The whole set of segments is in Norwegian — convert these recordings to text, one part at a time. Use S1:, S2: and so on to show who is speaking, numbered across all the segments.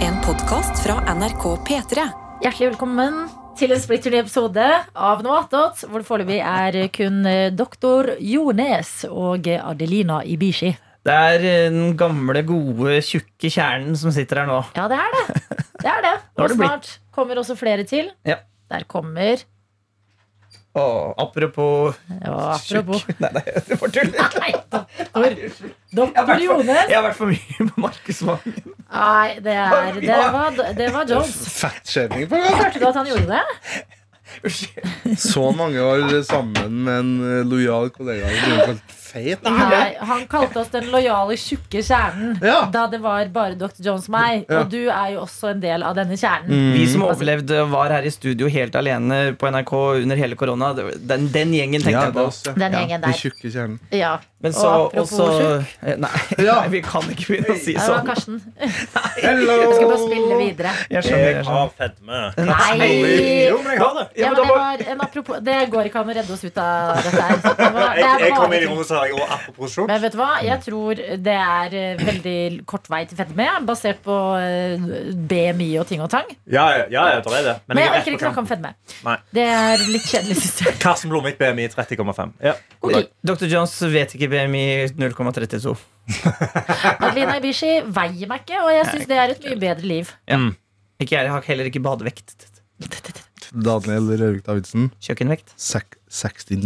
S1: En podkast fra NRK P3.
S2: Hjertelig velkommen til en splitter ny episode av Noe attåt, hvor det foreløpig er kun eh, doktor Jones og Adelina Ibishi.
S3: Det er eh, den gamle, gode, tjukke kjernen som sitter her nå.
S2: Ja, det er det. Det er det.
S3: Nå
S2: Og
S3: har det blitt.
S2: snart kommer også flere til.
S3: Ja.
S2: Der kommer
S3: Og apropos
S2: ja, Apropos
S3: tjukk Nei, nei, det var tull. Jeg
S2: Nei, doktor,
S3: har vært
S2: doktor
S3: for-
S2: Jones.
S3: Jeg har vært for mye på Markedsvang.
S2: Nei, det, er, det, var, det var Jones.
S4: Fettshaming på gang.
S2: Hørte du at han gjorde det?
S3: Unnskyld.
S4: Så mange år sammen med en eh, lojal kollega. Det blir jo kalt feit.
S2: Nei, Han kalte oss den lojale, tjukke kjernen
S4: Ja.
S2: da det var bare Dr. Jones og meg.
S4: Ja.
S2: Og du er jo også en del av denne
S4: Mm.
S2: kjernen.
S3: Vi som overlevde, var her i studio helt alene på NRK under hele korona. Den, den gjengen tenkte
S4: Ja,
S3: jeg
S4: det er
S3: på.
S4: oss, ja.
S2: Den
S4: Ja,
S2: gjengen
S4: Den
S2: der.
S4: tjukke kjernen.
S2: Ja.
S3: Men så
S2: Og apropos
S3: også nei, nei, vi kan ikke begynne å si
S2: Ja, Det var
S3: sånn.
S2: Karsten.
S4: Hello!
S2: Jeg skal bare spille videre.
S3: Jeg skjønner,
S5: Jeg
S3: jeg skjønner.
S5: har Eh, fedme.
S2: Nei!
S5: Jo, men jeg har det.
S3: Ja,
S2: Ja, men
S3: men da
S2: det,
S3: må-
S2: var en apropos, det går ikke an å redde oss ut av dette her. Det var, det
S5: Jeg,
S2: er
S5: jeg
S2: bare
S5: kom inn i
S2: ting.
S5: rommet og sa jo apropos skjort.
S2: men vet du hva? Jeg tror det er eh, veldig kort vei til fedme, ja, basert på eh, BMI og ting og tang.
S5: Ja, ja, ja, jeg tar det. det.
S2: Men jeg
S5: er
S2: orker
S5: rett
S2: ikke
S5: på
S2: snakke om fedme.
S5: Nei.
S2: Det er litt kjedelig, syns jeg.
S5: Karsten Blomvik, BMI 30,5. Ja.
S2: Ok,
S3: Dr. Jones vet ikke BMI 0,32.
S2: Adelina Ibishi veier meg ikke, og jeg syns det er et mye bedre liv.
S3: Ikke jeg, jeg har heller ikke badevekt.
S4: Daniel Rørvik Davidsen,
S3: Kjøkkenvekt.
S4: sek- 69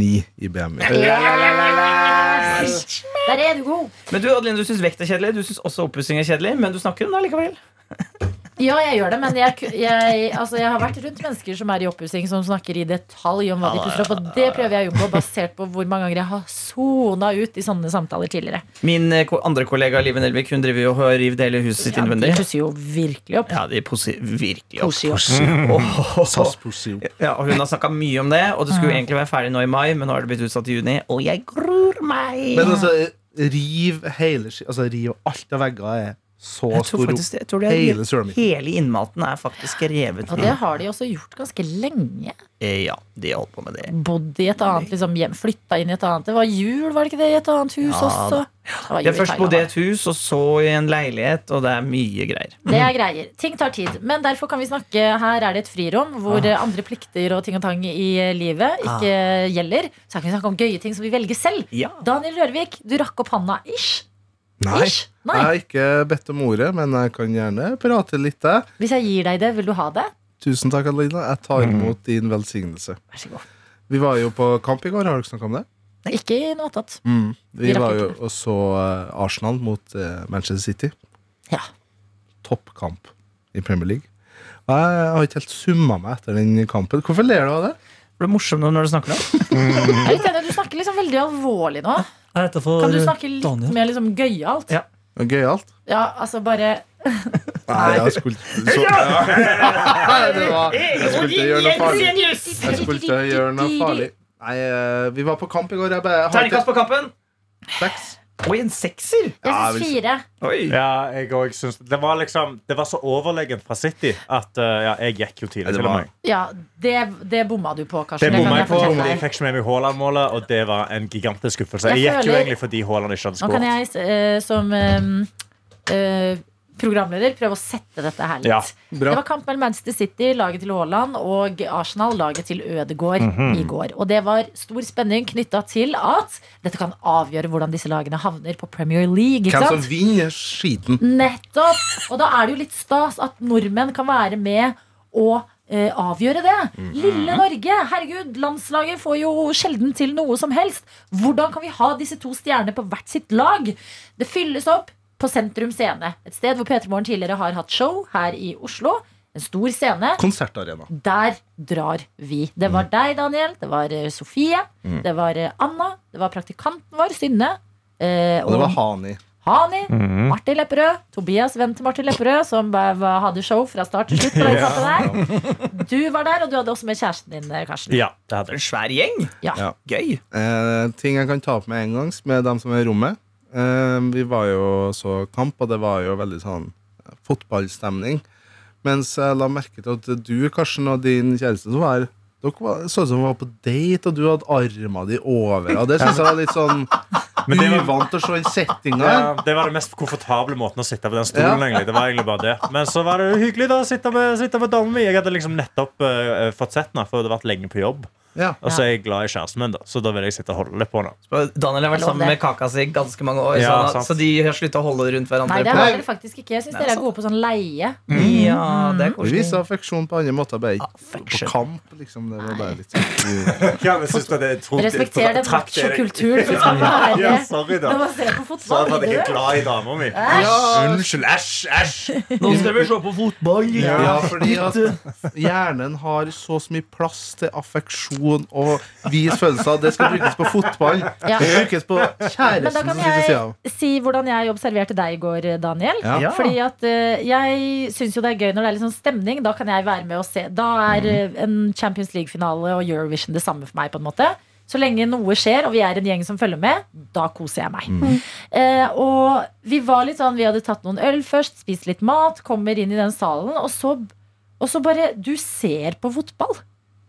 S4: i BMI.
S2: Yes! Der er du god.
S3: Men du Adeline, du syns vekt er kjedelig, du syns også oppussing er kjedelig, men du snakker om det likevel.
S2: Ja, jeg gjør det, men jeg, ku- jeg, altså, jeg har vært rundt mennesker som er i oppussing, som snakker i detalj om hva de pusser opp, og det prøver jeg å unngå, basert på hvor mange ganger jeg har sona ut i sånne samtaler tidligere.
S3: Min eh, ko- andre kollega Live Nelvik Hun driver jo og river det hele huset sitt
S2: Ja, de
S3: innvendig.
S2: pusser jo virkelig opp.
S3: Ja, de poser virkelig opp.
S2: Pusser jo.
S4: SAS Posio.
S3: Ja, og Hun har snakka mye om det, og det skulle jo egentlig være ferdig nå i mai, men nå har det blitt utsatt til juni, og jeg gruer meg!
S4: Men altså, riv hele sk- Altså, riv alt av vegger er så
S3: Jeg tror
S4: stor
S3: faktisk det- jeg tror det er
S4: Hele sølamitten.
S3: Hele innmaten er faktisk revet.
S2: Og det har de også gjort ganske lenge.
S3: Eh, Ja, de har holdt på med det.
S2: Bodd i et annet liksom, hjem, flytta inn i et annet Det var jul, var det ikke det, i et annet hus
S3: Ja,
S2: også?
S3: da.
S2: Det var jul
S3: Jeg
S2: i
S3: først
S2: Thailand,
S3: bodde i
S2: da.
S3: et hus, og så i en leilighet, og det er mye greier.
S2: Det er greier. Ting tar tid. Men derfor kan vi snakke Her er det et frirom hvor
S3: Ah.
S2: eh, andre plikter og ting og tang i eh, livet ikke eh, gjelder. Så her kan vi snakke om gøye ting som vi velger selv.
S3: Ja.
S2: Daniel Rørvik, du rakk opp handa. Ish.
S4: Nei.
S2: Ish.
S4: Jeg
S2: Nei.
S4: har ikke bedt om ordet, men jeg kan gjerne prate litt. jeg.
S2: Hvis jeg gir deg det, vil du ha det?
S4: Tusen takk, Adelina. Jeg tar imot din velsignelse.
S2: Vær så god.
S4: Vi var jo på kamp i går. Har dere snakket om det?
S2: Nei, Ikke i noe annet. Vi
S4: Mm. Vi
S2: rakk
S4: var
S2: ikke
S4: jo og så eh, Arsenal mot eh, Manchester City.
S2: Ja.
S4: Toppkamp i Premier League. Og jeg har ikke helt summa meg etter den kampen. Hvorfor ler du av det?
S3: Det blir morsomt når du snakker om det.
S2: Jeg er litt enig, Du snakker liksom veldig alvorlig nå. Kan du snakke litt mer liksom gøyalt?
S3: Ja.
S4: Det var Gøyalt?
S2: Ja, altså bare
S4: Nei, jeg skulle så, Nei, det var, Jeg skulle ikke gjøre noe farlig. Jeg skulle ikke gjøre noe farlig. Nei, eh, vi var på kamp i går. Jeg bare jeg har
S3: Terningkast
S4: ikke
S3: på kampen!
S4: seks.
S3: Oi, en sekser!
S2: Jeg
S4: Ja,
S2: syns
S4: jeg
S2: fire.
S3: Oi.
S5: Ja, jeg òg syns Det var liksom Det var så overlegent fra City at eh, ja, jeg gikk jo tidlig
S4: det
S5: til og
S4: var-
S5: med.
S2: Ja, det, det bomma du på, Karsten.
S5: Det bomma
S2: kan
S5: jeg på.
S2: fortelle
S5: fordi Jeg
S2: deg.
S5: fikk ikke med meg Haaland-målet, og det var en gigantisk skuffelse. Jeg
S2: Jeg
S5: gikk jo
S2: føler-
S5: egentlig fordi Haaland ikke hadde
S2: Nå kan
S5: skåret.
S2: jeg eh, som eh, eh, programleder prøve å sette dette her litt.
S5: Ja,
S4: bra.
S2: Det var kamp mellom Manchester City, laget til Haaland, og Arsenal, laget til Ødegaard, i går. Og det var stor spenning knytta til at dette kan avgjøre hvordan disse lagene havner på Premier League. Ikke
S4: Hvem som
S2: sant?
S4: vinner skiten?
S2: Nettopp! Og da er det jo litt stas at nordmenn kan være med og eh, avgjøre det. Lille Norge! Herregud, landslaget får jo sjelden til noe som helst. Hvordan kan vi ha disse to stjernene på hvert sitt lag? Det fylles opp på Sentrum Scene, et sted hvor P3 Morgen tidligere har hatt show her i Oslo. En stor scene.
S4: Konsertarena.
S2: Der drar vi. Det
S4: Mm.
S2: var deg, Daniel. Det var eh, Sofie. Det var eh, Anna. Det var praktikanten vår, Synne. eh,
S4: Og det var Hani.
S2: Hani, Martin Lepperød, Tobias venn til Martin Lepperød, som ba- ba- hadde show fra start til slutt. på den kampen der. Du var der, og du hadde også med kjæresten din, eh, Karsten.
S5: ja det hadde jeg.
S3: En svær gjeng.
S2: Ja.
S4: Ja.
S3: Gøy.
S4: Eh, ting jeg kan ta opp med en gang med dem som er i rommet. Eh, vi var jo så kamp, og det var jo veldig sånn eh, fotballstemning. Mens jeg la merke til at du, Karsten, og din kjæreste som var her, dere var, så ut som dere var på date, og du hadde armene dine over. Og det syns jeg var litt sånn
S5: Men det var-
S4: Uvant å se den settinga.
S5: Ja, Eh, det var den mest komfortable måten å sitte på den stolen.
S4: Ja.
S5: egentlig Det var egentlig bare det Men så var det jo hyggelig da å sitte med, sitte med damen min. Jeg hadde liksom nettopp eh, fått sett henne, for jeg hadde vært lenge på jobb.
S4: Ja.
S5: Og så er jeg glad i kjæresten min, da så da vil jeg sitte og holde litt på henne.
S3: Daniel har vært
S2: Lov
S3: sammen
S2: det.
S3: med kaka si i ganske mange år,
S5: Ja,
S3: så,
S5: sant.
S3: så de har slutta å holde rundt hverandre.
S2: Nei, det
S3: på-
S2: har dere faktisk ikke. Jeg syns dere er gode på sånn leie.
S3: Ja,
S5: Mm.
S3: det er
S4: Vi
S3: koselig.
S4: viser affeksjon på andre måter. Bare ikke på
S3: Affection.
S4: kamp, liksom. Det var bare litt sånn
S2: Respekter den machokulturen som skal være
S5: sorry,
S2: når man ser på fotball. gjør du det?
S5: glad i dama mi. Unnskyld. Æsj, æsj.
S3: Nå skal vi se på fotball!
S4: Ja, fordi at hjernen har så så mye plass til affeksjon og vis følelser. Det skal brukes på fotball. Det
S2: Ja.
S4: skal brukes på
S2: Men
S4: kjæresten
S2: da
S4: som
S2: kan
S4: sitter ved sida av.
S2: jeg si hvordan jeg observerte deg i går, eh, Daniel.
S4: Ja.
S3: Ja.
S2: Fordi at eh, jeg syns jo det er gøy når det er litt sånn stemning. Da kan jeg være med og se. Da
S4: Mm.
S2: er eh, en Champions League-finale og Eurovision det samme for meg, på en måte. Så lenge noe skjer, og vi er en gjeng som følger med, da koser jeg
S4: Mm.
S2: meg. Eh, og vi var litt sånn, vi hadde tatt noen øl først, spist litt mat, kommer inn i den salen, og så, og så bare Du ser på fotball.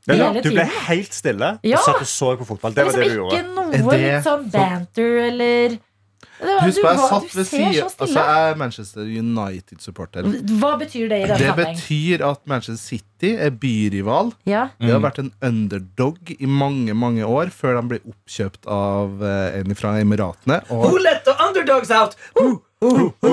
S2: Hele
S5: Du ble
S2: tiden.
S5: helt stille
S2: Ja.
S5: og satt og så på fotball. Det var
S2: liksom
S5: det du gjorde.
S2: Ikke noe
S4: Er det
S2: litt sånn banter eller det var,
S4: Husk
S2: du
S4: på, jeg
S2: var-
S4: satt ved
S2: Du ser
S4: sida
S2: så
S4: Altså,
S2: stille.
S4: jeg er Manchester United-supporter.
S2: Hva betyr det i den
S4: Det
S2: sammenheng?
S4: betyr at Manchester City er byrival.
S2: Ja.
S4: Det har vært en underdog i mange mange år før de ble oppkjøpt av eh, en fra Emiratene.
S3: Who
S4: Og,
S3: let the underdogs out? Who?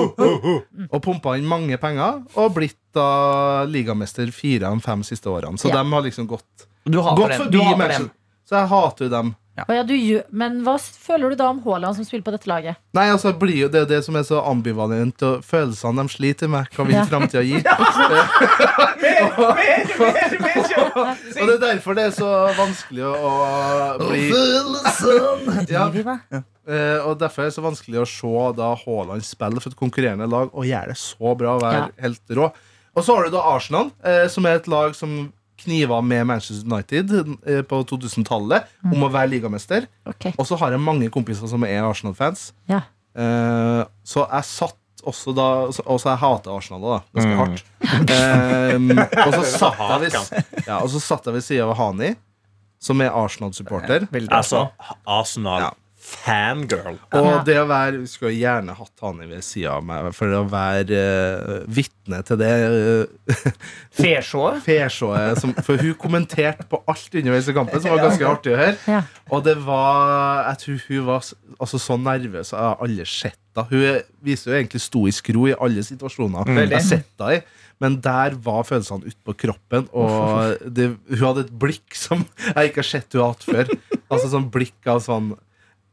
S4: og pumpa inn mange penger og blitt da ligamester fire av de fem siste årene. Så
S2: Ja.
S4: de har liksom gått,
S3: Du hater
S4: gått
S3: dem.
S4: forbi
S3: Du hater dem.
S4: Manchester. Så jeg hater jo dem.
S2: Å ja, du, gjør- men hva s- føler du da om Haaland som spiller på dette laget?
S4: Nei, altså, det blir jo det, er det som er så ambivalent, og følelsene de sliter med, hva vil
S2: Ja.
S4: framtida gi? Og det er derfor det er så vanskelig å, å bli Ja. Eh, og derfor er det så vanskelig å se da Haaland spille for et konkurrerende lag og gjøre det så bra og være helt rå. Og så har du da Arsenal, eh, som er et lag som kniva med Manchester United eh, på 2000-tallet om å være ligamester.
S2: Ok.
S4: Og så har jeg mange kompiser som er Arsenal-fans.
S2: Ja.
S4: Eh, så jeg satt også da Og så og så jeg hater Arsenal da, ganske hardt. Eh, og, så satt jeg ved, ja, og så satt jeg ved sida av Hani, som er Arsenal-supporter.
S3: Veldig
S5: Altså,
S3: bra.
S5: Arsenal.
S4: Ja.
S5: Fangirl.
S2: Ja.
S4: Og det å være Vi skulle gjerne hatt Hani ved sida av meg, for å være uh, vitne til det uh,
S3: Fesjået.
S4: fesjået som For hun kommenterte på alt underveis i kampen, som var ganske artig å høre.
S2: Ja.
S4: Og det var Jeg tror hun var s- altså, så nervøs. Jeg har aldri sett henne. Hun er- viser jo egentlig stoisk ro i alle situasjoner
S3: Veldig.
S4: jeg har sett henne i. Men der var følelsene ute på kroppen, og det, hun hadde et blikk som jeg ikke har sett hun har hatt før. Altså sånn blikk av sånn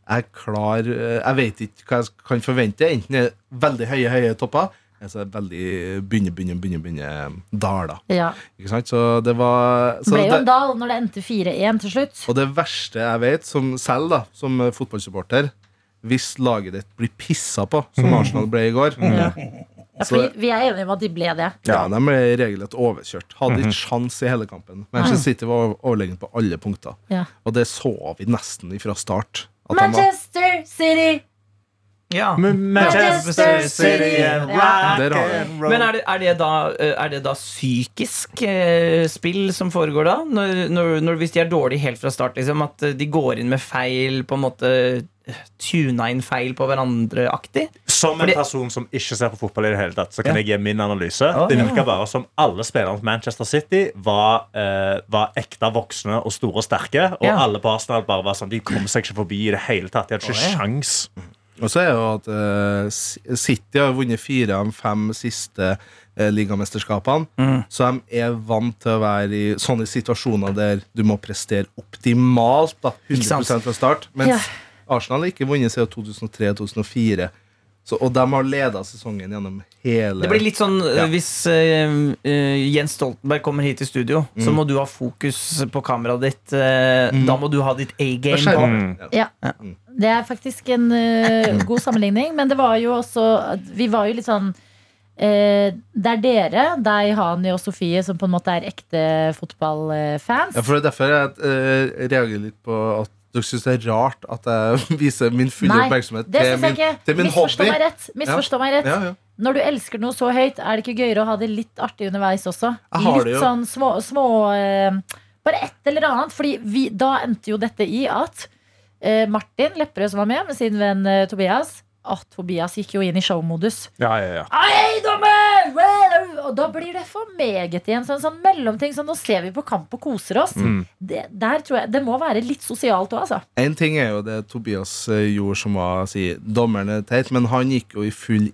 S4: Jeg er klar eh, Jeg vet ikke hva jeg kan forvente. Enten er det veldig høye, høye topper, eller så er det veldig begynne, begynne, begynne, begynne eh, daler.
S2: ja.
S4: Ikke sant? Så det var så
S2: Ble jo
S4: det-
S2: en dal når det endte 4-1 til slutt.
S4: og det verste jeg vet, som selv da, som eh, fotballsupporter Hvis laget ditt blir pissa på, som Arsenal ble i går
S2: Ja. Ja,
S4: Så-
S2: fordi vi er enige om at de ble det.
S4: ja, De ble regelrett overkjørt. Hadde ikke sjans i hele kampen. Manchester City var over- overlegen på alle punkter.
S2: Ja.
S4: Og det så vi nesten ifra start. at de var-
S2: Manchester City!
S3: Ja.
S2: Manchester City and rock
S4: Der har vi
S3: Men er det, er, det da, eh, er det da psykisk eh, spill som foregår da? Når, når, når Hvis de er dårlige helt fra start, liksom, at de går inn med feil, på en måte tuna inn feil på hverandre-aktig?
S5: Som en
S3: Fordi-
S5: person som ikke ser på fotball i det hele tatt, så kan jeg gi min analyse.
S3: Å,
S5: Det
S3: ja.
S5: virka bare som alle spillerne til Manchester City var, eh, var ekte voksne og store og sterke. Og
S3: Ja.
S5: alle på Arsenal bare var sånn De kom seg ikke forbi i det hele tatt. De hadde ikke
S3: Å, ja.
S5: sjans.
S4: Og så er jo at eh, C- City har vunnet fire av de fem siste eh, ligamesterskapene.
S3: Mm.
S4: Så de er vant til å være i sånne situasjoner der du må prestere optimalt. Da,
S3: Ikke sant?
S4: 100 fra start. Mens
S2: Ja.
S4: Arsenal har ikke vunnet siden 2003-2004. Så, og de har leda sesongen gjennom hele
S3: Det blir litt sånn eh,
S4: Ja.
S3: hvis eh, eh, Jens Stoltenberg kommer hit i studio, så
S4: Mm.
S3: må du ha fokus på kameraet ditt. eh, Da må du ha ditt
S4: Det
S3: A-game.
S4: skjer.
S3: på.
S4: Ja.
S2: Ja. Det er faktisk en ø, god sammenligning, men det var jo også at Vi var jo litt sånn ø, Det er dere, deg, Hani og Sofie, som på en måte er ekte fotballfans.
S4: Ja, for det er derfor jeg eh, reagerer litt på at dere syns det er rart at jeg viser min fulle
S2: Nei,
S4: oppmerksomhet
S2: det syns
S4: til
S2: jeg
S4: min,
S2: ikke.
S4: til min
S2: Misforstå
S4: hobby.
S2: meg rett. Misforstå meg rett.
S4: Ja, ja.
S2: Når du elsker noe så høyt, er det ikke gøyere å ha det litt artig underveis også?
S4: Jeg har det
S2: litt
S4: jo.
S2: sånn små, små eh, Bare et eller annet. Fordi vi, da endte jo dette i at eh, Martin Lepperød som var med, med sin venn eh, Tobias. At Tobias gikk jo inn i showmodus.
S5: Ja, ja, ja.
S2: Hei, dommer! Wow! Og da blir det for meget igjen. Så en sånn mellomting. Så nå ser vi på kamp og koser oss.
S5: Mm.
S2: Det, der tror jeg, det må være litt sosialt òg, altså.
S4: En ting er jo det Tobias eh, gjorde som var å si dommeren er teit, men han gikk jo i full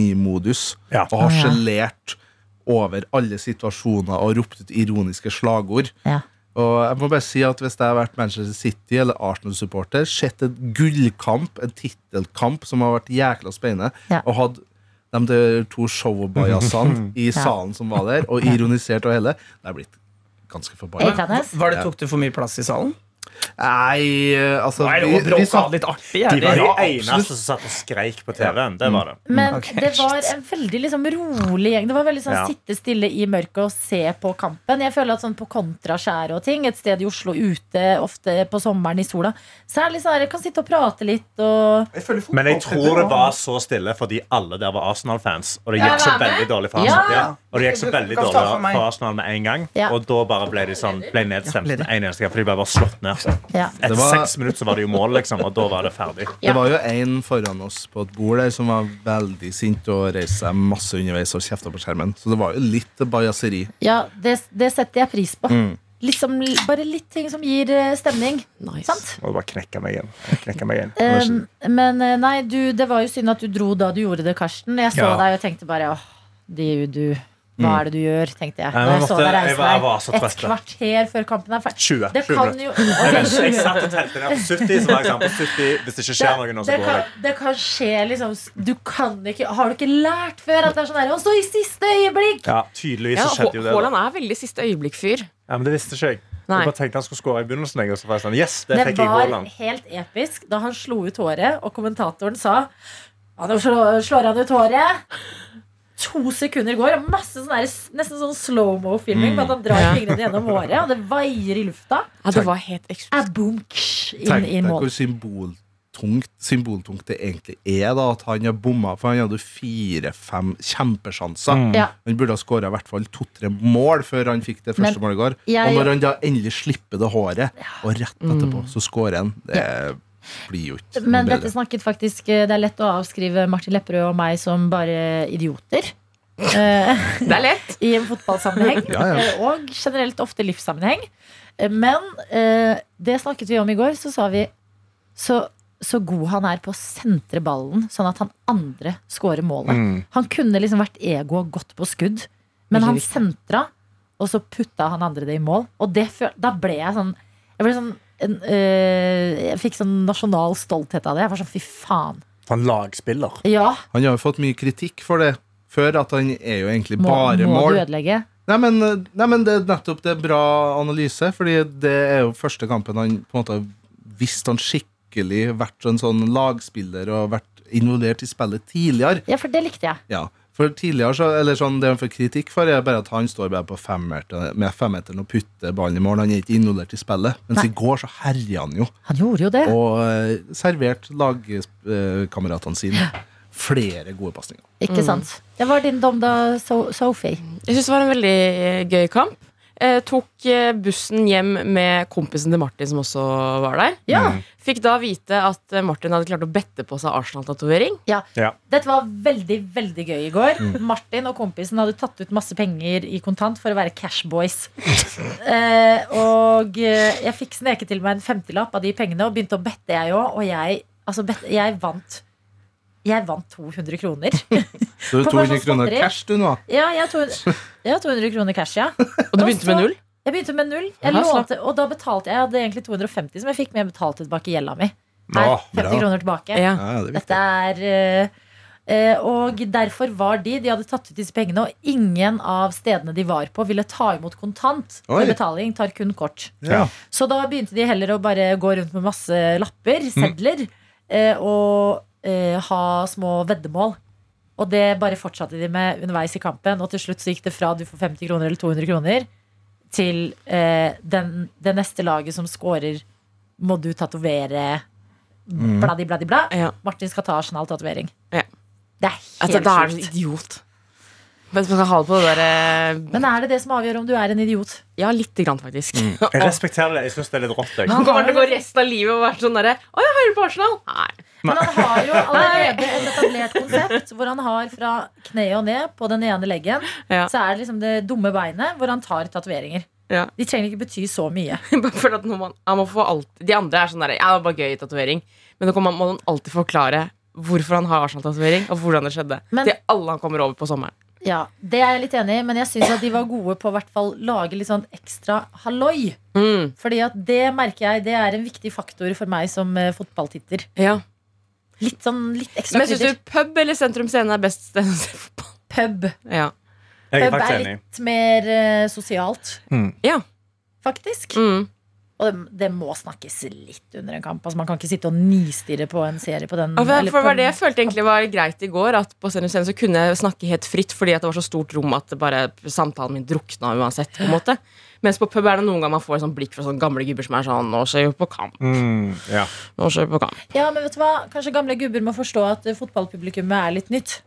S4: ironimodus
S5: Ja.
S4: og har
S2: Å, ja.
S4: sjelert over alle situasjoner og ropt ut ironiske slagord.
S2: Ja.
S4: Og jeg må bare si at Hvis jeg har vært Manchester City eller Arsenal-supporter, sett en gullkamp, en tittelkamp som har vært jækla spennende,
S2: Ja.
S4: og hatt de der to showbajasene i salen som var der, og ironisert og hele, det er blitt ganske forbanna.
S2: Jeg kan det.
S3: Var det, tok det for mye plass i salen?
S4: Nei, eh, altså
S3: Nå er det
S4: vi-
S3: jo
S4: vi
S3: bråka
S4: satt-
S3: litt artig. Er det?
S5: De var de
S4: Ja, absolutt.
S5: eneste som satt og skreik på TV-en. Det var det.
S2: Men
S3: Ok,
S2: det var en veldig liksom rolig gjeng. Det var veldig sånn
S5: Ja.
S2: Sitte stille i mørket og se på kampen. Jeg føler at sånn På kontraskjæret og ting, et sted i Oslo ute, ofte på sommeren i sola Særlig sånn her, jeg kan sitte og prate litt og
S5: Men jeg tror det var så stille fordi alle der var Arsenal-fans. Og det
S2: Ja,
S5: gikk så
S2: var det?
S5: veldig dårlig for
S2: Ja.
S5: Arsenal. Ja. Og det gikk så
S3: Du kan
S5: veldig
S3: ta
S5: dårlig
S3: for meg.
S5: for Arsenal med en gang.
S2: Ja.
S5: Og da bare ble de sånn, ble nedstemt med en eneste gang, for de ble bare slått ned.
S2: Ja.
S5: Etter
S4: Det var-
S5: seks minutter så var det jo mål, liksom, og da var det ferdig.
S2: Ja.
S4: Det var jo en foran oss på et bord der som var veldig sint og reiste seg masse underveis og kjefta på skjermen. Så det var jo litt bajaseri.
S2: Ja, det, det setter jeg pris på. Liksom, bare litt ting som gir eh, stemning.
S1: Nice.
S2: Sant?
S5: Må bare knekke meg igjen. Knekke meg igjen.
S2: Um, men eh, nei, du, det var jo synd at du dro da du gjorde det, Karsten. Jeg så
S5: Ja. Mm.
S2: deg og tenkte bare åh, det er jo du. Hva er det du gjør, tenkte jeg.
S5: Nei,
S2: Da
S5: men
S2: jeg så
S5: måtte-
S2: deg
S5: jeg
S2: reise
S5: var-
S2: deg
S5: jeg var så
S2: et
S5: trøtt, da.
S2: kvarter før kampen er ferdig.
S5: 20.
S2: Det
S5: 20
S2: kan
S5: minutter.
S2: jo
S5: Jeg vet ikke, Jeg satt og telte ned på 70, så var jeg sånn på 70 Hvis det ikke skjer noe nå, så
S2: det,
S5: går
S2: kan,
S5: jeg.
S2: det kan skje, liksom. Du kan ikke Har du ikke lært før at det er sånn her Og så i siste øyeblikk!
S5: Ja, tydeligvis
S1: Ja,
S5: så skjedde jo det. da.
S1: Haaland er veldig siste øyeblikk-fyr.
S5: Ja, men det visste ikke jeg.
S1: Nei.
S5: Jeg bare tenkte han skulle skåre i begynnelsen, jeg, og så var jeg sånn Yes, det
S2: Det
S5: fikk jeg i
S2: var
S5: Haaland.
S2: helt episk da han slo ut håret, og kommentatoren sa Ja, nå slå- slår han ut håret. To sekunder går, og masse sånn der, nesten sånn slow-mo-filming. med At
S5: Mm.
S2: han drar
S1: Ja.
S2: fingrene gjennom håret, og det vaier i lufta.
S1: Ja, det var helt eksplosivt.
S2: Aboomksh,
S4: Tenk
S2: inn i
S4: deg hvor
S2: mål.
S4: symboltungt, symboltungt det egentlig er da, at han har bomma, for han hadde jo fire-fem kjempesjanser.
S5: Mm.
S2: Ja.
S4: Han burde ha skåra i hvert fall to-tre mål før han fikk det første
S2: Men
S4: målet i går.
S2: jeg- Mm.
S4: Og når han da endelig slipper det håret, og rett etterpå så skårer han, det blir jo
S5: Sånn
S4: ikke noe
S2: Men dette
S4: bedre.
S2: snakket faktisk eh, Det er lett å avskrive Martin Lepperød og meg som bare idioter. Eh,
S1: Det er lett.
S2: I en fotballsammenheng.
S4: Ja, ja.
S2: eh, Og generelt ofte livssammenheng. Eh, Men eh, det snakket vi om i går, så sa vi så, så god han er på å sentre ballen, sånn at han andre scorer målet.
S4: Mm.
S2: Han kunne liksom vært ego og gått på skudd, men
S1: Veldig
S2: han
S1: viktig.
S2: sentra, og så putta han andre det i mål. Og det føl da ble jeg sånn Jeg ble sånn en, eh, jeg fikk sånn nasjonal stolthet av det. Jeg var sånn, fy faen.
S5: For en lagspiller.
S2: Ja,
S4: Han har jo fått mye kritikk for det før, at han er jo egentlig
S2: må,
S4: bare
S2: må
S4: mål.
S2: du ødelegge?
S4: Nei men, nei, men det er nettopp det er bra analyse, fordi det er jo første kampen han på en måte har visst han skikkelig vært en sånn lagspiller og vært involvert i spillet tidligere.
S2: Ja, for det likte jeg.
S4: Ja, for tidligere så, eller sånn, Det han får kritikk for, er bare at han står bare på femmeteren med femmeteren og putter ballen i mål. Han er ikke involvert i spillet. Mens
S2: Nei.
S4: i går så herja han jo
S2: Han gjorde jo det.
S4: og eh, serverte lagkameratene sine flere gode pasninger.
S2: Ikke sant? Det var din dom da, so Sophie.
S1: Jeg syns det var en veldig eh, gøy kamp. Eh, tok eh, bussen hjem med kompisen til Martin, som også var der.
S5: Mm.
S2: Ja.
S1: Fikk da vite at eh, Martin hadde klart å bette på seg Arsenal-tatovering.
S5: Ja.
S2: Dette var veldig veldig gøy i går. Martin og kompisen hadde tatt ut masse penger i kontant for å være cashboys. eh, og eh, jeg fikk sneket til meg en femtilapp av de pengene, og begynte å bette, jeg òg. Og jeg, altså, bet, jeg vant. Jeg vant 200 kroner.
S4: Så
S2: På
S4: 200 kroner
S2: personlig.
S4: cash, du nå.
S2: Ja, jeg har 200, jeg har 200 kroner cash, ja.
S1: Og du begynte med null?
S2: Jeg begynte med null. Jeg
S1: Aha,
S2: lånte, og da betalte jeg. Jeg hadde egentlig 250 som jeg fikk, men jeg betalte tilbake gjelda mi. Her,
S5: Nå,
S2: 50 kroner tilbake.
S1: Ja.
S4: Ja, det er viktig.
S2: Dette er eh, eh, Og derfor var de De hadde tatt ut disse pengene, og ingen av stedene de var på, ville ta imot kontant. For
S4: Oi.
S2: betaling tar kun kort.
S5: Ja.
S2: Så da begynte de heller å bare gå rundt med masse
S4: Mm.
S2: lapper, sedler, eh, og eh, ha små veddemål. Og det bare fortsatte de med underveis i kampen, og til slutt så gikk det fra du får 50 kroner eller 200 kroner, til eh, den, det neste laget som scorer, må du tatovere bladi, bladi, bla.
S1: Ja.
S2: Martin skal ta Arsenal-tatovering.
S1: Ja.
S2: Det er
S1: Altså,
S2: helt
S1: da er du
S2: sjukt.
S1: idiot. Hvis man skal ha det på det der eh,
S2: Men er det det som avgjør om du er en idiot?
S1: Ja, lite grann, faktisk.
S5: Jeg respekterer Mm. det. Jeg syns det er litt rått. Jeg.
S1: Han kommer til å gå resten av livet og være sånn derre Å, jeg heier på Arsenal! Nei.
S2: Men han har jo allerede et etablert konsept hvor han har fra kneet og ned på den ene leggen,
S1: Ja.
S2: så er det liksom det dumme beinet hvor han tar tatoveringer.
S1: Ja.
S2: De trenger ikke bety så mye.
S1: Bare for at når man, ja, man får alt, de andre er sånn derre Ja, det var gøy tatovering. Men nå kan man, må man alltid forklare hvorfor han har Arsenal-tatovering, og hvordan det skjedde.
S2: Men-
S1: til alle han kommer over på sommeren.
S2: Ja, Det er jeg litt enig i, men jeg syns at de var gode på å hvert fall lage litt sånn ekstra halloi.
S1: Mm,
S2: Fordi at det merker jeg, det er en viktig faktor for meg som eh, fotballtitter.
S1: ja.
S2: Litt sånn, litt ekstra
S1: Men syns
S2: krydder.
S1: du pub eller sentrum scene er best sted å se fotball?
S2: Pub.
S1: Ja.
S5: Jeg er
S2: Pub
S5: faktisk
S2: er
S5: enig.
S2: litt mer eh, sosialt.
S1: Ja.
S2: Faktisk.
S1: Mm.
S2: Og det, det må snakkes litt under en kamp. Altså, man kan ikke sitte og nistirre på en serie på den.
S1: Ja, for,
S2: eller
S1: for det
S2: på
S1: var det jeg følte egentlig var greit i går. At på Sendum Scene så kunne jeg snakke helt fritt fordi at det var så stort rom at det bare samtalen min drukna uansett. på en måte Mens på pub er det noen ganger man får sånn blikk fra sånne gamle gubber som er sånn Nå ser vi på kamp.
S5: Mm, ja.
S1: Nå ser vi på kamp.
S2: ja, men vet du hva? Kanskje gamle gubber må forstå at eh, fotballpublikummet er litt nytt.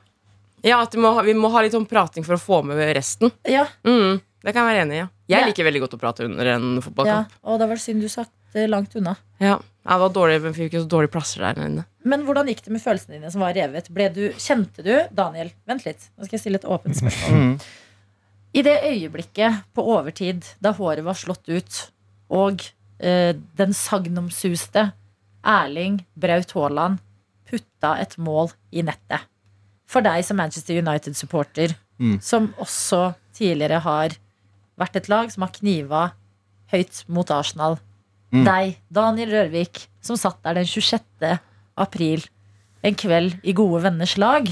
S1: Ja, at vi må, ha- vi må ha litt sånn prating for å få med resten.
S2: Ja,
S1: Mm, det kan jeg være enig i. ja Jeg
S2: Ja.
S1: liker veldig godt å prate under en
S2: ja.
S1: fotballkamp.
S2: Og da var det synd du satt eh, langt unna.
S1: Ja. Ja, det var dårlig, men vi fikk jo så dårlige plasser der inne.
S2: Men hvordan gikk det med følelsene dine som var revet? Ble du, kjente du Daniel, vent litt, nå skal jeg stille et åpent spørsmål. I det øyeblikket på overtid da håret var slått ut, og eh, den sagnomsuste Erling Braut Haaland putta et mål i nettet. For deg som Manchester United-supporter,
S4: Mm.
S2: som også tidligere har vært et lag som har kniva høyt mot Arsenal. Deg, Daniel Rørvik, som satt der den 26. april, en kveld i gode venners lag.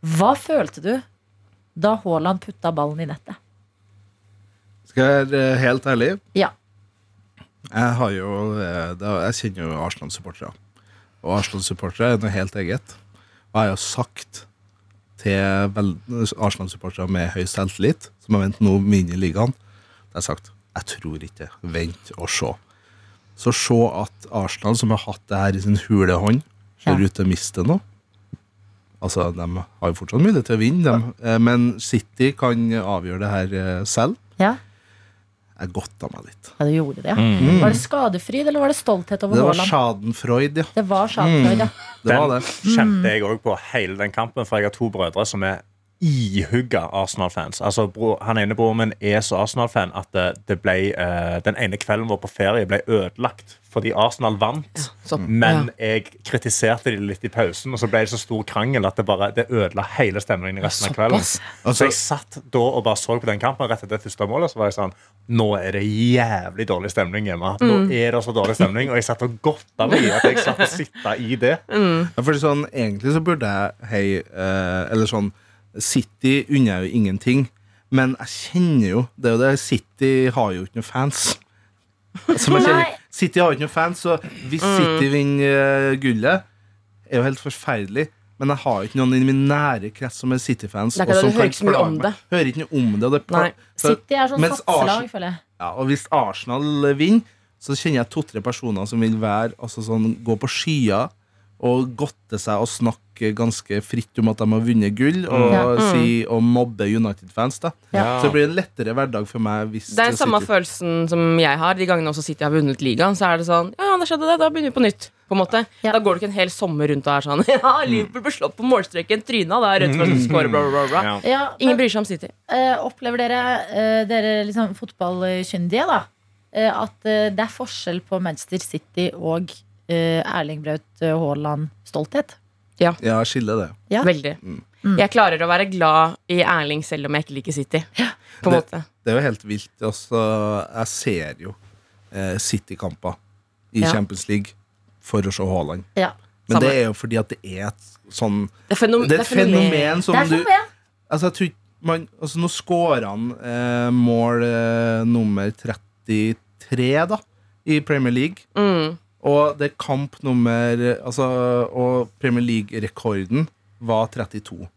S2: Hva følte du da Haaland putta ballen i nettet?
S4: Skal jeg være eh, helt ærlig?
S2: Ja.
S4: Jeg, har jo, eh, da- jeg kjenner jo Arsenal-supportere. Og Arsenal-supportere er noe helt eget. Og jeg har jo sagt til vel- Arsenal-supportere med høy selvtillit, som har vent nå vinner ligaen, det har jeg sagt jeg tror ikke. Vent og se. Så se at Arsenal, som har hatt det her i sin hule hånd, ser
S2: Ja.
S4: ut til å miste noe. Altså, De har jo fortsatt mulighet til å vinne, dem. Eh, men City kan avgjøre det her eh, selv.
S2: Ja,
S4: Jeg godta meg litt.
S2: ja du gjorde det. ja. Var det skadefryd, eller var Mm. Mm. det stolthet over
S4: Det var
S2: Haaland?
S4: Schadenfreud, ja.
S2: Det var Schadenfreude.
S4: Det var det.
S1: Mm.
S5: kjente jeg òg på hele den kampen, for jeg har to brødre som er ihugga Arsenal-fans. Altså, bro, han ene broren min er så Arsenal-fan at det, det ble, eh, den ene kvelden vår på ferie ble ødelagt fordi Arsenal vant.
S1: Så,
S5: Mm. Men
S1: ja.
S5: jeg kritiserte de litt i pausen, og så ble det så stor krangel at det bare det ødela hele stemningen. i resten av kvelden
S1: Såpass.
S4: Altså-
S5: Så jeg satt da og bare så på den kampen rett etter det første målet. Så var jeg sånn Nå er det jævlig dårlig stemning hjemme. Nå
S1: Mm.
S5: er det så dårlig stemning Og jeg satt og godta meg i at jeg satt og sitta i det.
S4: Ja, fordi sånn, egentlig så burde jeg hei, eh, Eller sånn City unner jeg jo ingenting, men jeg kjenner jo Det er jo det City har jo ikke noen fans. Som jeg kjenner,
S2: Nei.
S4: City har jo ikke noen fans, så hvis City vinner eh, gullet, er jo helt forferdelig. Men jeg har jo ikke noen i min nære krets som er City-fans.
S1: Det er
S4: og
S1: ikke det,
S4: som
S1: du
S4: kan
S1: hører ikke så mye
S4: plage
S1: om
S4: meg.
S1: det.
S4: Hører ikke noe om det. Og det pla-
S1: Nei.
S4: så-
S2: City er sånn
S4: Mens Arsen-
S2: satselag, føler jeg.
S4: ja, og hvis Arsenal vinner, så kjenner jeg to-tre personer som vil være altså sånn, gå på skyer og godte seg og snakke ganske fritt om at de har vunnet gull, og,
S2: Ja.
S4: si, og mobbe United-fans. da
S2: Ja.
S4: Så det blir en lettere hverdag for meg hvis
S1: Det er den samme
S4: City-
S1: følelsen som jeg har. De gangene også City har vunnet ligaen, så er det sånn Ja, da skjedde det. Da begynner vi på nytt. På en måte.
S2: Ja.
S1: Da går det ikke en hel sommer rundt og er sånn Ja, Liverpool ble slått på målstreken. Tryna da, rødt for å score, bla, bla, bla.
S5: Ja.
S2: Ja, men-
S1: Ingen bryr seg om City.
S2: Eh, opplever dere, eh, dere liksom fotballkyndige, da, eh, at eh, det er forskjell på Manchester City og eh, Erling Braut Haaland-stolthet?
S4: Ja, jeg skiller det.
S2: Ja.
S1: Veldig.
S5: Mm.
S1: Jeg klarer å være glad i Erling selv om jeg ikke liker City. På en
S4: Det-
S1: måte.
S4: Det er jo helt vilt. Altså, jeg ser jo eh, City-kamper i
S1: Ja.
S4: Champions League for å se Haaland.
S2: Ja.
S4: Men
S1: Samme.
S4: det er jo fordi at det er et sånn
S1: Det er, fenom
S4: Det er et fenomen som
S2: Det er sånn,
S4: du
S2: fenomen!
S4: Altså, jeg tror ikke man, altså, nå scorer han eh, mål eh, nummer 33 da, i Premier League.
S1: Mm.
S4: Og det er kamp nummer altså, Og Premier League-rekorden var 32.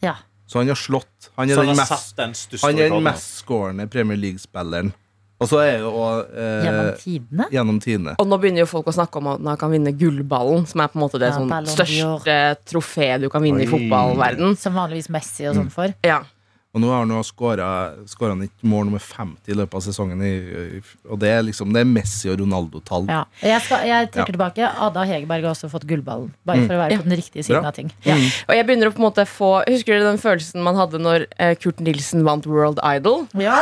S2: Ja.
S4: Så han har slått. Han er den
S5: Så han har
S4: mest,
S5: satt den største
S4: han er den
S5: rekorden.
S4: mest skårende Premier League-spilleren. Og så er det jo også,
S2: Gjennom
S4: eh,
S2: tidene?
S4: gjennom tidene.
S1: Og nå begynner jo folk å snakke om at han kan vinne gullballen, som er på en måte det
S2: Ja,
S1: sånn
S2: Ballon d'Or.
S1: største trofeet du kan vinne i
S4: Oi.
S1: fotballverden.
S2: Som vanligvis Messi og sånn
S4: Mm.
S2: for.
S1: Ja.
S4: Og nå har han jo skåra han ikke mål nummer 50 i løpet av sesongen. I, og det er liksom det er Messi og Ronaldo-tall.
S2: Ja. Jeg, skal, jeg
S4: Ja. Mm.
S2: trekker tilbake. Ada Hegerberg har også fått gullballen. Bare for å være
S1: Ja.
S2: på den riktige siden
S4: Bra. Mm.
S2: av ting.
S1: Og jeg begynner å på en måte få Husker dere den følelsen man hadde når eh, Kurt Nilsen vant World Idol?
S2: Ja.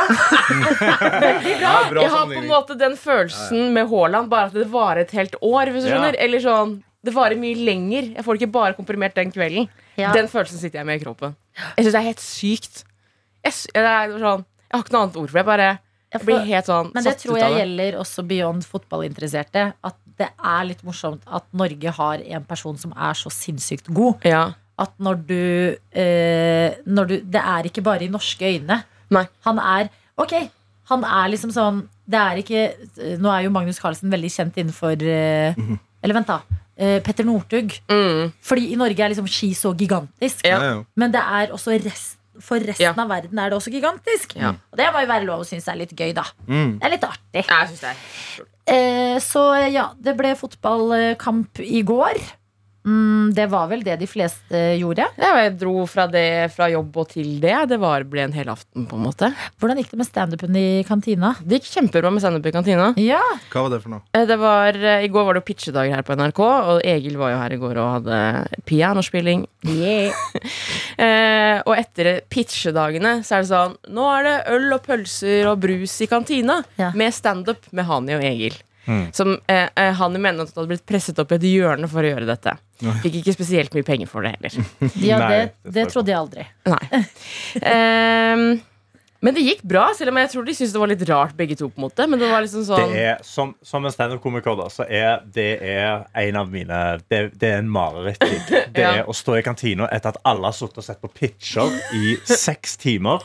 S1: Ah, Jeg har på en måte den følelsen med Haaland, bare at det varer et helt år. Hvis du
S5: Ja.
S1: skjønner Eller sånn Det varer mye lenger. Jeg får det ikke bare komprimert den kvelden.
S2: Ja.
S1: Den følelsen sitter jeg med i kroppen. Jeg syns det er helt sykt. Jeg, sy- det er sånn, jeg har ikke noe annet ord for det. Jeg bare jeg blir helt sånn
S2: Men det
S1: satt
S2: tror
S1: ut av
S2: jeg
S1: det.
S2: gjelder også beyond fotballinteresserte. At det er litt morsomt at Norge har en person som er så sinnssykt god.
S1: Ja.
S2: At når du, eh, når du Det er ikke bare i norske øyne.
S1: Nei.
S2: Han er Ok, han er liksom sånn Det er ikke eh, Nå er jo Magnus Carlsen veldig kjent innenfor eh,
S4: Mhm.
S2: Eller vent, da. eh, Petter Northug.
S1: Mm.
S2: Fordi i Norge er liksom ski så gigantisk.
S1: Ja.
S4: Ja, ja.
S2: Men det er også rest, for resten
S1: Ja.
S2: av verden er det også gigantisk.
S1: Ja.
S2: Og det må jo være lov å synes er litt gøy, da.
S5: Mm.
S2: Det er litt artig.
S1: Nei, Jeg synes det er
S2: Eh, så ja, det ble fotballkamp i går. Mm, det var vel det de fleste gjorde.
S1: Ja, jeg dro fra, det, fra jobb og til det. Det var, ble en hel aften, på en måte.
S2: Hvordan gikk det med standupen i kantina?
S1: Det gikk kjempebra med standup i kantina.
S2: Ja,
S4: Hva var det for noe?
S1: Eh, Det var, eh, I går var det jo pitchedager her på NRK, og Egil var jo her i går og hadde pianospilling. Eh, og etter pitchedagene så er det sånn Nå er det øl og pølser og brus i kantina
S2: Ja.
S1: med standup med Hani og Egil.
S5: Mm.
S1: Som eh, eh, Hani mener at hun hadde blitt presset opp i et hjørne for å gjøre dette. Fikk ikke spesielt mye penger for det heller.
S2: ja
S5: Nei,
S2: det,
S5: det
S2: det
S5: får jeg
S2: trodde jeg aldri.
S1: Nei. Ehm, men det gikk bra, selv om jeg tror de syntes det var litt rart, begge to. på en måte Men det var liksom sånn
S5: Det er, som, som en standup-komiker da, så er det er en av mine Det, det er en marerittgig. Det
S1: Ja.
S5: er å stå i kantina etter at alle har sittet og sett på pitcher i seks timer.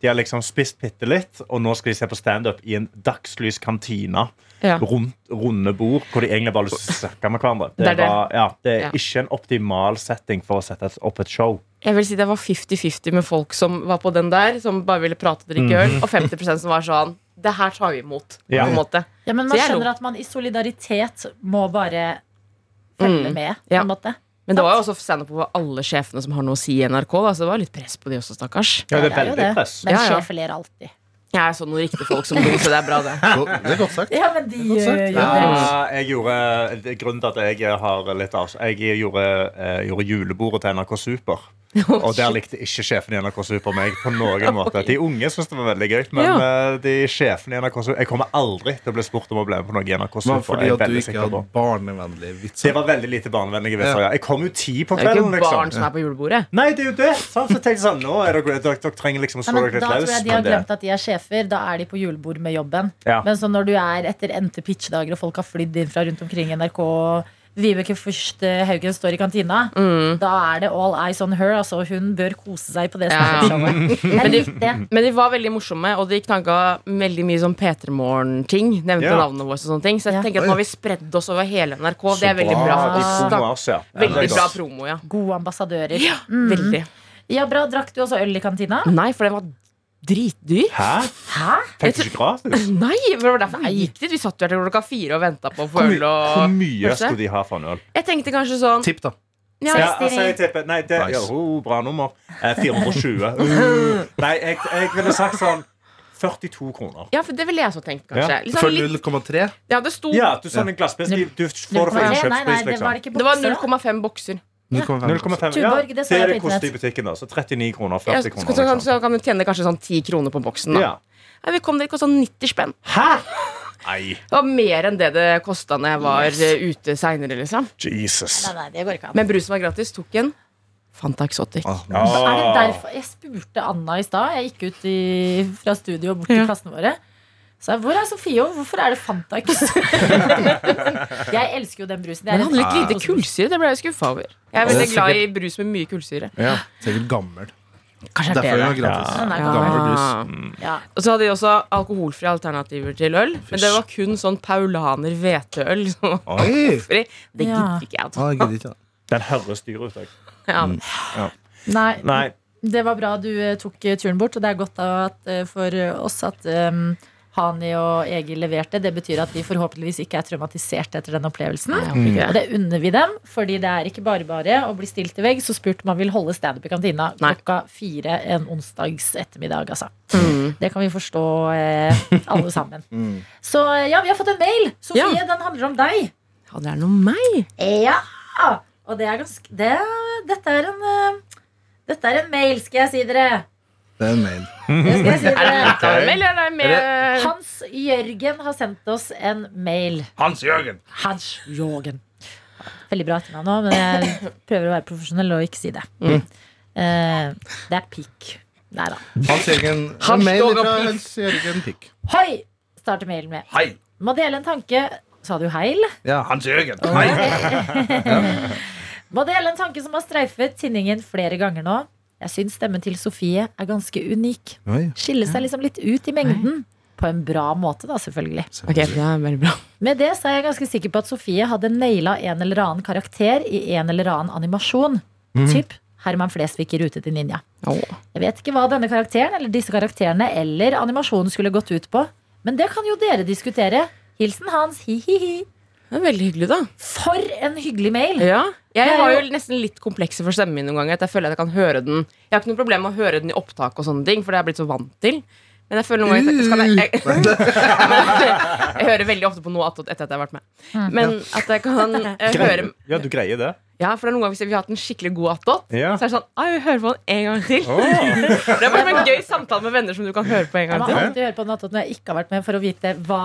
S5: De har liksom spist bitte litt, og nå skal de se på standup i en dagslys kantine.
S1: Ja.
S5: Rundt, runde bord, hvor de egentlig bare har lyst til å snakke med hverandre. Det,
S1: Det er det.
S5: Var, ja, det er
S1: Ja.
S5: ikke en optimal setting for å sette opp et show.
S1: Jeg vil si det var 50-50 med folk som var på den der, som bare ville prate og drikke øl, og 50 som var sånn Det her tar vi imot.
S5: Mhm. Ja.
S1: På en måte.
S2: Ja, men
S1: Så
S2: man
S1: jeg lo.
S2: skjønner at man i solidaritet må bare følge
S1: Mm,
S2: med, på
S1: ja.
S2: en måte.
S1: Men det var jo også standup på alle sjefene som har noe å si i NRK. Da, så det var litt press på de også, stakkars.
S5: Ja, det er
S2: Det er jo
S5: veldig
S2: det.
S5: press.
S2: Men
S1: Ja, ja.
S2: sjef ler alltid.
S1: Jeg er sånn noen riktige folk som lo, så det er bra, det.
S4: Så, det er godt sagt.
S2: Ja, men de
S4: Godt sagt.
S2: gjør jo det.
S5: Ja, Ah, jeg gjorde det er Grunnen til at jeg har litt av Jeg gjorde, eh, gjorde julebordet til NRK Super. Og der likte ikke sjefen i NRK Super meg på noen måte. De unge syntes det var veldig gøy, men
S1: Ja.
S5: eh, de sjefene i NRK Super Jeg kommer aldri til å bli spurt om å bli med på noe i NRK
S4: Det
S5: Super.
S4: var fordi
S5: jeg er
S4: at du
S5: veldig
S4: ikke
S5: sikker
S4: hadde
S5: på.
S4: barnevennlige vitser.
S5: Det var veldig lite barnevennlige vitser.
S4: Ja.
S5: Ja. Jeg kom jo ti på
S1: Det er jo
S5: kvelden,
S1: ikke barn
S5: liksom.
S1: som er på julebordet.
S5: Nei, det er jo det! sant? Så tenkte jeg sånn, nå er dere, dere, dere trenger liksom å
S2: Nei,
S5: slå
S2: men da
S5: dere litt
S2: tror
S5: løs.
S2: jeg de har
S5: men det-
S2: glemt at de er sjefer. Da er de på julebord med jobben.
S5: Ja.
S2: Men så når du er etter endte pitchdager, og folk har flydd inn fra rundt omkring NRK og Vibeke Fürst eh, Haugen står i kantina,
S1: Mm.
S2: da er det all eyes on her. Altså, hun bør kose seg på det
S1: Ja.
S5: Mm.
S2: standup-showet. Jeg likte det.
S1: Men de var veldig morsomme, og de knagga veldig mye sånn P3 Morgen-ting. Nevnte
S5: Ja.
S1: navnet vårt og sånne ting. Så jeg
S2: Ja.
S1: tenker at nå har vi spredd oss over hele NRK. Det er veldig bra.
S5: De
S1: for
S5: promoer oss,
S1: oss.
S5: ja.
S1: Veldig bra promo, ja.
S2: Gode ambassadører.
S1: Ja, veldig.
S2: Ja, bra. Drakk du også øl i kantina?
S1: Mm. Nei, for den var dritdyr.
S5: Hæ?
S2: Hæ?
S5: Fikk du ikke gratis?
S1: Nei, for det var derfor jeg gikk dit. Vi satt jo her til klokka fire og venta på å få
S5: Hvor mye,
S1: øl
S5: hvor
S1: og
S5: mye
S1: pølse.
S5: skulle de ha for en øl?
S1: Jeg tenkte kanskje sånn
S4: Tipp, da.
S1: ja,
S5: Ja, altså, jeg tipper Nei, det
S4: Nice.
S5: ja, oh, Bra nummer. Eh, 420. Uh, nei, jeg, jeg ville sagt sånn 42 kroner.
S1: ja, for det ville jeg også tenkt, kanskje.
S5: Ja.
S1: Litt
S4: For
S1: sånn litt,
S4: 0,3.
S1: ja, det sto
S5: Ja, du sender en glassbisk. Du du får det for
S2: Nei, nei,
S5: en
S2: nei,
S5: kjøpspris,
S2: det var
S5: liksom.
S2: det ikke
S1: Det var
S2: bokser, da.
S1: 0,5 bokser.
S4: 0,5.
S5: 0,5. Ja,
S2: Tuborg, det så
S5: det er
S2: jeg
S5: det
S2: på
S5: koster i
S2: internett.
S5: butikken, da. Så 39 kroner. 40
S1: Ja, så,
S5: kroner.
S1: så, kan-
S5: Liksom.
S1: så kan du tjene kanskje sånn 10 kroner på boksen. Da.
S5: Ja.
S1: Nei, vi kom dit kosta 90 sånn spenn.
S5: Hæ? Nei,
S1: Det var mer enn det det kosta når jeg var eh, ute seinere. Liksom.
S5: Jesus.
S2: Nei, nei, det går ikke an.
S1: Men brusen var gratis. Tok en. Fanta Exotic.
S4: Ah,
S2: Så er det
S5: Ah.
S2: derfor Jeg spurte Anna i stad. Jeg gikk ut i, fra studio og bort til
S1: Ja.
S2: plassene våre. Så jeg, Hvor er Sofie, og hvorfor er det Fanta ikke så?» Jeg elsker jo den brusen. Det
S1: Den
S2: er
S1: hadde
S2: en
S1: litt lite kullsyre. Det ble jeg skuffa over. Jeg er
S4: Det er
S1: veldig glad i brus med mye kullsyre.
S4: Sikkert gammel.
S1: Kanskje
S4: Derfor er
S1: det
S4: den gratis.
S2: Den er gammel.
S4: Gammel brus.
S1: Ja.
S2: ja.
S1: Og så hadde de også alkoholfrie alternativer til øl. Men det var kun sånn Paulaner hveteøl. som var
S4: Oi!
S1: alkoholfri. Det
S2: Ja.
S1: gidder ikke jeg.
S4: Ah,
S1: Altså.
S4: jeg gidder ikke, da.
S5: Den høres dyr ut. Jeg.
S1: Ja.
S2: Nei,
S5: Nei.
S2: det var bra du eh, tok eh, turen bort, og det er godt da at, eh, for eh, oss at eh, Hani og Egil leverte. Det betyr at de forhåpentligvis ikke er traumatisert etter den opplevelsen.
S1: Jeg håper ikke
S2: Og
S1: det.
S2: det unner vi dem, fordi det er ikke bare bare å bli stilt til vegg. Så spurt man vil holde standup i kantina
S1: Nei.
S2: klokka fire en onsdags ettermiddag, altså.
S1: Mm.
S2: Det kan vi forstå eh, alle sammen. Så eh, ja, vi har fått en mail. Sofie,
S1: Ja.
S2: den handler om deg.
S1: Ja, det er noe meg.
S2: Ja! Og det er ganske det, Dette er en eh, Dette er en mail, skal jeg si dere.
S4: Det er en mail.
S2: Det skal jeg si dere.
S1: Er det med, eller er det med
S2: Hans Jørgen har sendt oss en mail.
S4: Hans Jørgen!
S2: Hans Jørgen. Veldig bra etternavn òg, men jeg prøver å være profesjonell og ikke si det. Eh, det er pikk. Nei da.
S4: Hans Jørgen
S1: Han
S4: En mail
S1: står
S4: fra
S1: opp i-
S4: Hans Jørgen Pikk.
S2: Hoi! starter mailen med.
S4: Hei!
S2: Må dele en tanke Sa du heil?
S4: Ja, Hans Jørgen.
S2: Må dele en tanke som har streifet tinningen flere ganger nå. Jeg syns stemmen til Sofie er ganske unik.
S4: Oi,
S2: Skille seg liksom litt ut i mengden. På en bra måte, da, selvfølgelig.
S1: Ok, det er veldig bra.
S2: Med det så er jeg ganske sikker på at Sofie hadde naila en eller annen karakter i en eller annen animasjon.
S5: Mhm.
S2: Typ Herman Flesvig i Rute til ninja. Jeg vet ikke hva denne karakteren eller disse karakterene eller animasjonen skulle gått ut på, men det kan jo dere diskutere. Hilsen Hans, hi-hi-hi.
S1: Det er veldig hyggelig, da.
S2: For en hyggelig mail!
S1: Ja.
S2: Det
S1: Jeg
S2: er
S1: har jo
S2: jo-
S1: nesten litt komplekser for stemmen min noen ganger. At jeg føler at jeg kan høre den Jeg har ikke noe problem med å høre den i opptak, og sånne ting for det har jeg blitt så vant til. Men jeg føler noen ganger skal jeg, jeg,
S2: Uh.
S1: jeg hører veldig ofte på noe attåt etter at jeg har vært med.
S2: Mm.
S1: Men at jeg kan eh, høre
S5: Ja, du greier det.
S1: Ja, for det er noen ganger Hvis vi har hatt en skikkelig god attåt,
S5: Ja.
S1: så er det sånn Ai, vi hører på den en gang til. Det er bare som en gøy samtale med venner som du kan høre på en
S2: Jeg
S1: gang
S2: må
S1: til.
S2: alltid høre på Nattot når jeg ikke har vært med, for å vite hva,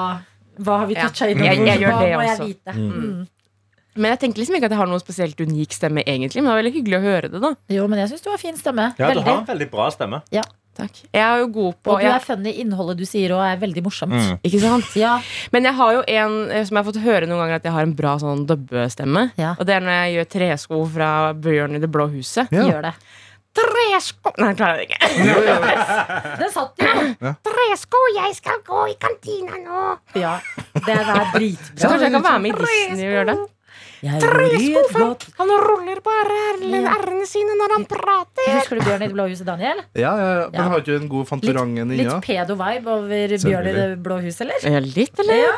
S2: hva har vi
S1: Ja.
S2: toucha innom.
S1: Jeg- jeg gjør
S2: hva
S1: det
S2: må jeg
S1: også.
S2: vite?
S5: Mm.
S2: Mm.
S1: Men jeg tenker liksom ikke at jeg har noen spesielt unik stemme, egentlig. Men det er veldig hyggelig å høre det, da.
S2: Jo, men jeg syns du har fin stemme.
S5: Ja, du
S2: veldig.
S5: har en veldig bra stemme.
S1: Takk. Jeg er jo god på
S2: Og du
S1: jeg-
S2: er funny. Innholdet du sier òg er veldig morsomt.
S5: Mm.
S1: Ikke sant?
S2: Ja,
S1: Men jeg har jo en eh, som jeg har fått høre noen ganger at jeg har en bra sånn dubbestemme.
S2: Ja.
S1: Og det er når jeg gjør tresko fra Bjørn i Det blå huset.
S4: Ja.
S2: gjør det.
S1: Tresko Nei, jeg klarer det ikke.
S2: Den satt jo!
S1: Tresko, jeg skal gå i kantina nå.
S2: Ja, det er
S1: Så
S2: dritbra.
S1: kanskje jeg kan være med i Disney og gjøre det.
S2: Jeg rører godt.
S1: Han ruller på r-ene sine når han prater.
S2: Husker du Bjørn i det blå huset, Daniel?
S4: Ja, ja, ja.
S2: Ja.
S4: Men har ikke du en god Fantorangen inni?
S2: Litt
S4: ja?
S2: pedo-vibe over Bjørn i det blå huset, eller?
S1: Ja, litt, eller?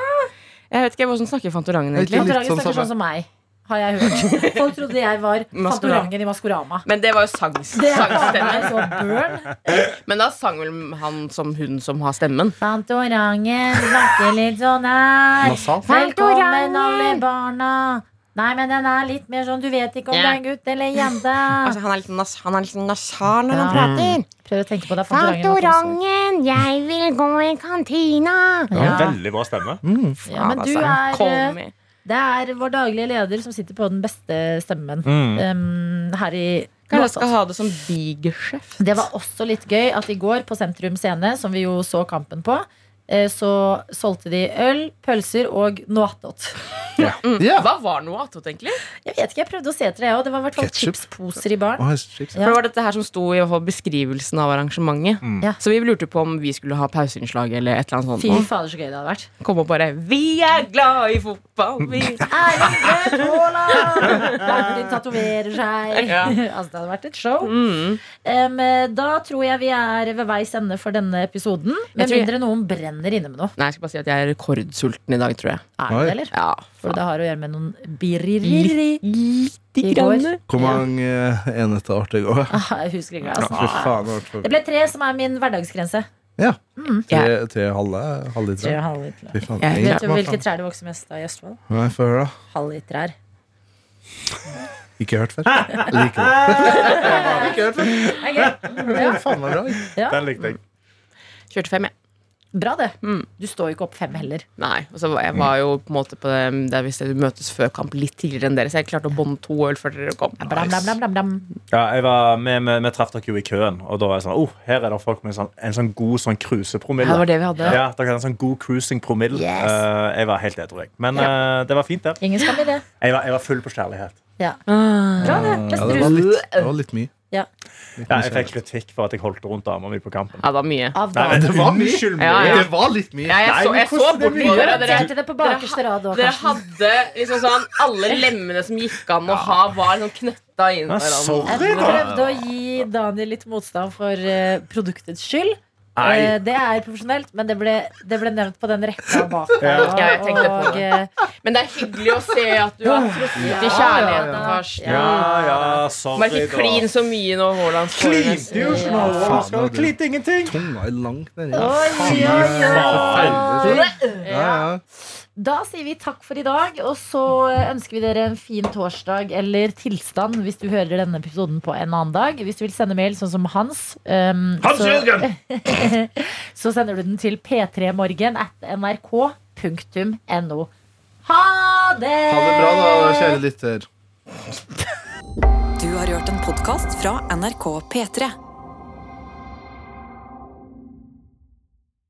S1: Jeg vet ikke hvordan snakker Fantorangen
S4: Jeg vet ikke.
S1: egentlig.
S2: Fantorangen
S4: litt sånn
S2: snakker sånn
S4: samme.
S2: som meg, har jeg hørt. Folk trodde jeg var
S1: Maskorama.
S2: Fantorangen i Maskorama.
S1: Men det var jo sangs,
S2: Det er
S1: sangstemme.
S2: faen meg så Bjørn.
S1: Men da sang vel han som hun som har stemmen.
S2: Fantorangen snakker litt sånn her.
S4: Nasalt?
S2: Velkommen, alle barna. Nei, men den er litt mer sånn, du vet ikke om det er en gutt eller en jente.
S1: Altså, han er litt, nas han er litt nasal når
S2: Ja.
S1: han prater.
S2: Prøv å tenke på det. Fantorangen.
S6: Fantorangen, jeg vil gå i kantina.
S5: Du har en
S2: Ja.
S5: veldig bra stemme.
S2: Ja, men du
S1: Altså,
S2: er
S1: call
S2: eh,
S1: me.
S2: Det er vår daglige leder som sitter på den beste stemmen
S4: Mm.
S2: um, her i
S1: Kanskje jeg skal
S2: Blåtatt.
S1: ha det som bigeskjeft.
S2: Det var også litt gøy at i går på Sentrum Scene, som vi jo så kampen på, eh, så solgte de øl, pølser og noe attåt.
S4: Ja.
S1: Hva var noe attåt, egentlig?
S2: Jeg vet ikke, jeg prøvde å se etter det òg. Det var i hvert fall
S4: Ketchup.
S2: chipsposer i baren.
S4: Å, jeg synes ikke-
S2: Ja.
S1: For det var dette her som sto i hvert fall beskrivelsen av arrangementet.
S2: Ja.
S1: Så vi lurte på om vi skulle ha pauseinnslag eller et eller annet
S2: Fy
S1: sånt.
S2: fader, så gøy det hadde vært.
S1: Og Kom og bare 'Vi er glad i fotball', vi
S2: Erling Braut Haaland! Bergen tatoverer seg.
S1: Ja.
S2: altså, det hadde vært et show.
S1: mm.
S2: Em, da tror jeg vi er ved veis ende for denne episoden. Med
S1: tror jeg-
S2: mindre noen brenner inne med noe.
S1: Nei, jeg skal bare si at jeg er rekordsulten i dag, tror jeg.
S2: Er
S4: Oi.
S2: det det, eller?
S1: Ja,
S2: For det har å gjøre med noen biriri.
S1: Lite
S2: I går.
S1: grann.
S4: Hvor mange eh, enheter ble det i går?
S2: Ah, jeg husker ikke det.
S4: Fy
S2: Altså.
S4: faen. det ble for-
S2: Det ble tre, som er min hverdagsgrense.
S4: Ja.
S1: Ja.
S4: Tre, tre halve halvlitere? Fy faen.
S1: Ja,
S2: Vet du
S4: Hva
S2: hvilke
S4: faen?
S2: trær det vokser mest av i Østfold?
S4: Nei, Få høre, da.
S2: Halvliterær.
S4: Ikke hørt før. Liker det. Ikke hørt før. Det er faen meg bra.
S5: Den likte jeg.
S1: Kjørte fem, jeg.
S2: Bra, det.
S1: Mm.
S2: Du står jo ikke opp fem heller.
S1: Nei, og så var jeg var jo på en måte på det der vi stedet møtes før kamp litt tidligere enn dere, så jeg klarte å bånde to øl før dere kom.
S2: Blam, blam, blam, blam, blam.
S5: Ja, jeg var, vi, vi, vi traff dere jo i køen, og da var jeg sånn oh, her er det folk med en sånn, en sånn god sånn
S1: Ja, det
S5: cruisepromille.
S1: var det vi hadde.
S5: Ja, dere hadde en sånn god cruising-promille.
S2: Yes.
S5: Eh, jeg var helt edru, jeg. Men eh, det var fint, det.
S2: Ingen skam i det.
S5: Jeg var, jeg var full på kjærlighet.
S2: Ja.
S1: Ah.
S2: Bra, det.
S4: Ja,
S2: Best
S4: det var
S2: rus.
S4: litt, det var litt mye.
S2: Ja.
S4: Litt
S5: Ja,
S4: mye
S5: jeg fikk kritikk for at jeg holdt rundt dama mi på kampen.
S1: Ja, det var mye.
S2: Av
S5: Nei,
S2: dagen.
S4: det var mye.
S5: unnskyld meg.
S1: Ja, ja.
S4: Det var litt mye.
S1: Ja, jeg så, jeg så bort på dere.
S2: Jeg
S1: dere.
S2: noterte det på bakerste rad òg,
S1: Dere
S2: Karsten.
S1: hadde liksom sånn Alle lemmene som gikk an å ha, var sånn knøtta
S5: Ja,
S1: inn. hverandre.
S5: sorry,
S2: Jeg prøvde å gi Daniel litt motstand for eh, produktets skyld.
S5: Nei.
S2: Eh, Det er profesjonelt, men det ble, det ble nevnt på den rekka bak der.
S1: Ja, jeg tenkte på
S2: og,
S1: det.
S2: eh,
S1: Men det er hyggelig å se at du har truffet i kjærligheten, Karsten.
S5: Ja, ja, sorry,
S1: Må ikke klin så mye når Haaland skårer.
S5: Klinte jo ikke noe! overraskende.
S4: Faen, du-
S5: Klinte ingenting!
S4: Tunga er langt nedi.
S2: oi,
S5: Faen.
S2: oi, oi.
S4: Ja, ja.
S2: Da sier vi takk for i dag, og så ønsker vi dere en fin torsdag eller tilstand hvis du hører denne episoden på en annen dag. Hvis du vil sende mail, sånn som Hans um,
S5: Hans
S2: så,
S5: Jørgen!
S2: så sender du den til p3morgen at nrk.no. Ha det!
S4: Ha det bra, da, kjære lytter.
S7: Du har hørt en podkast fra NRK P3.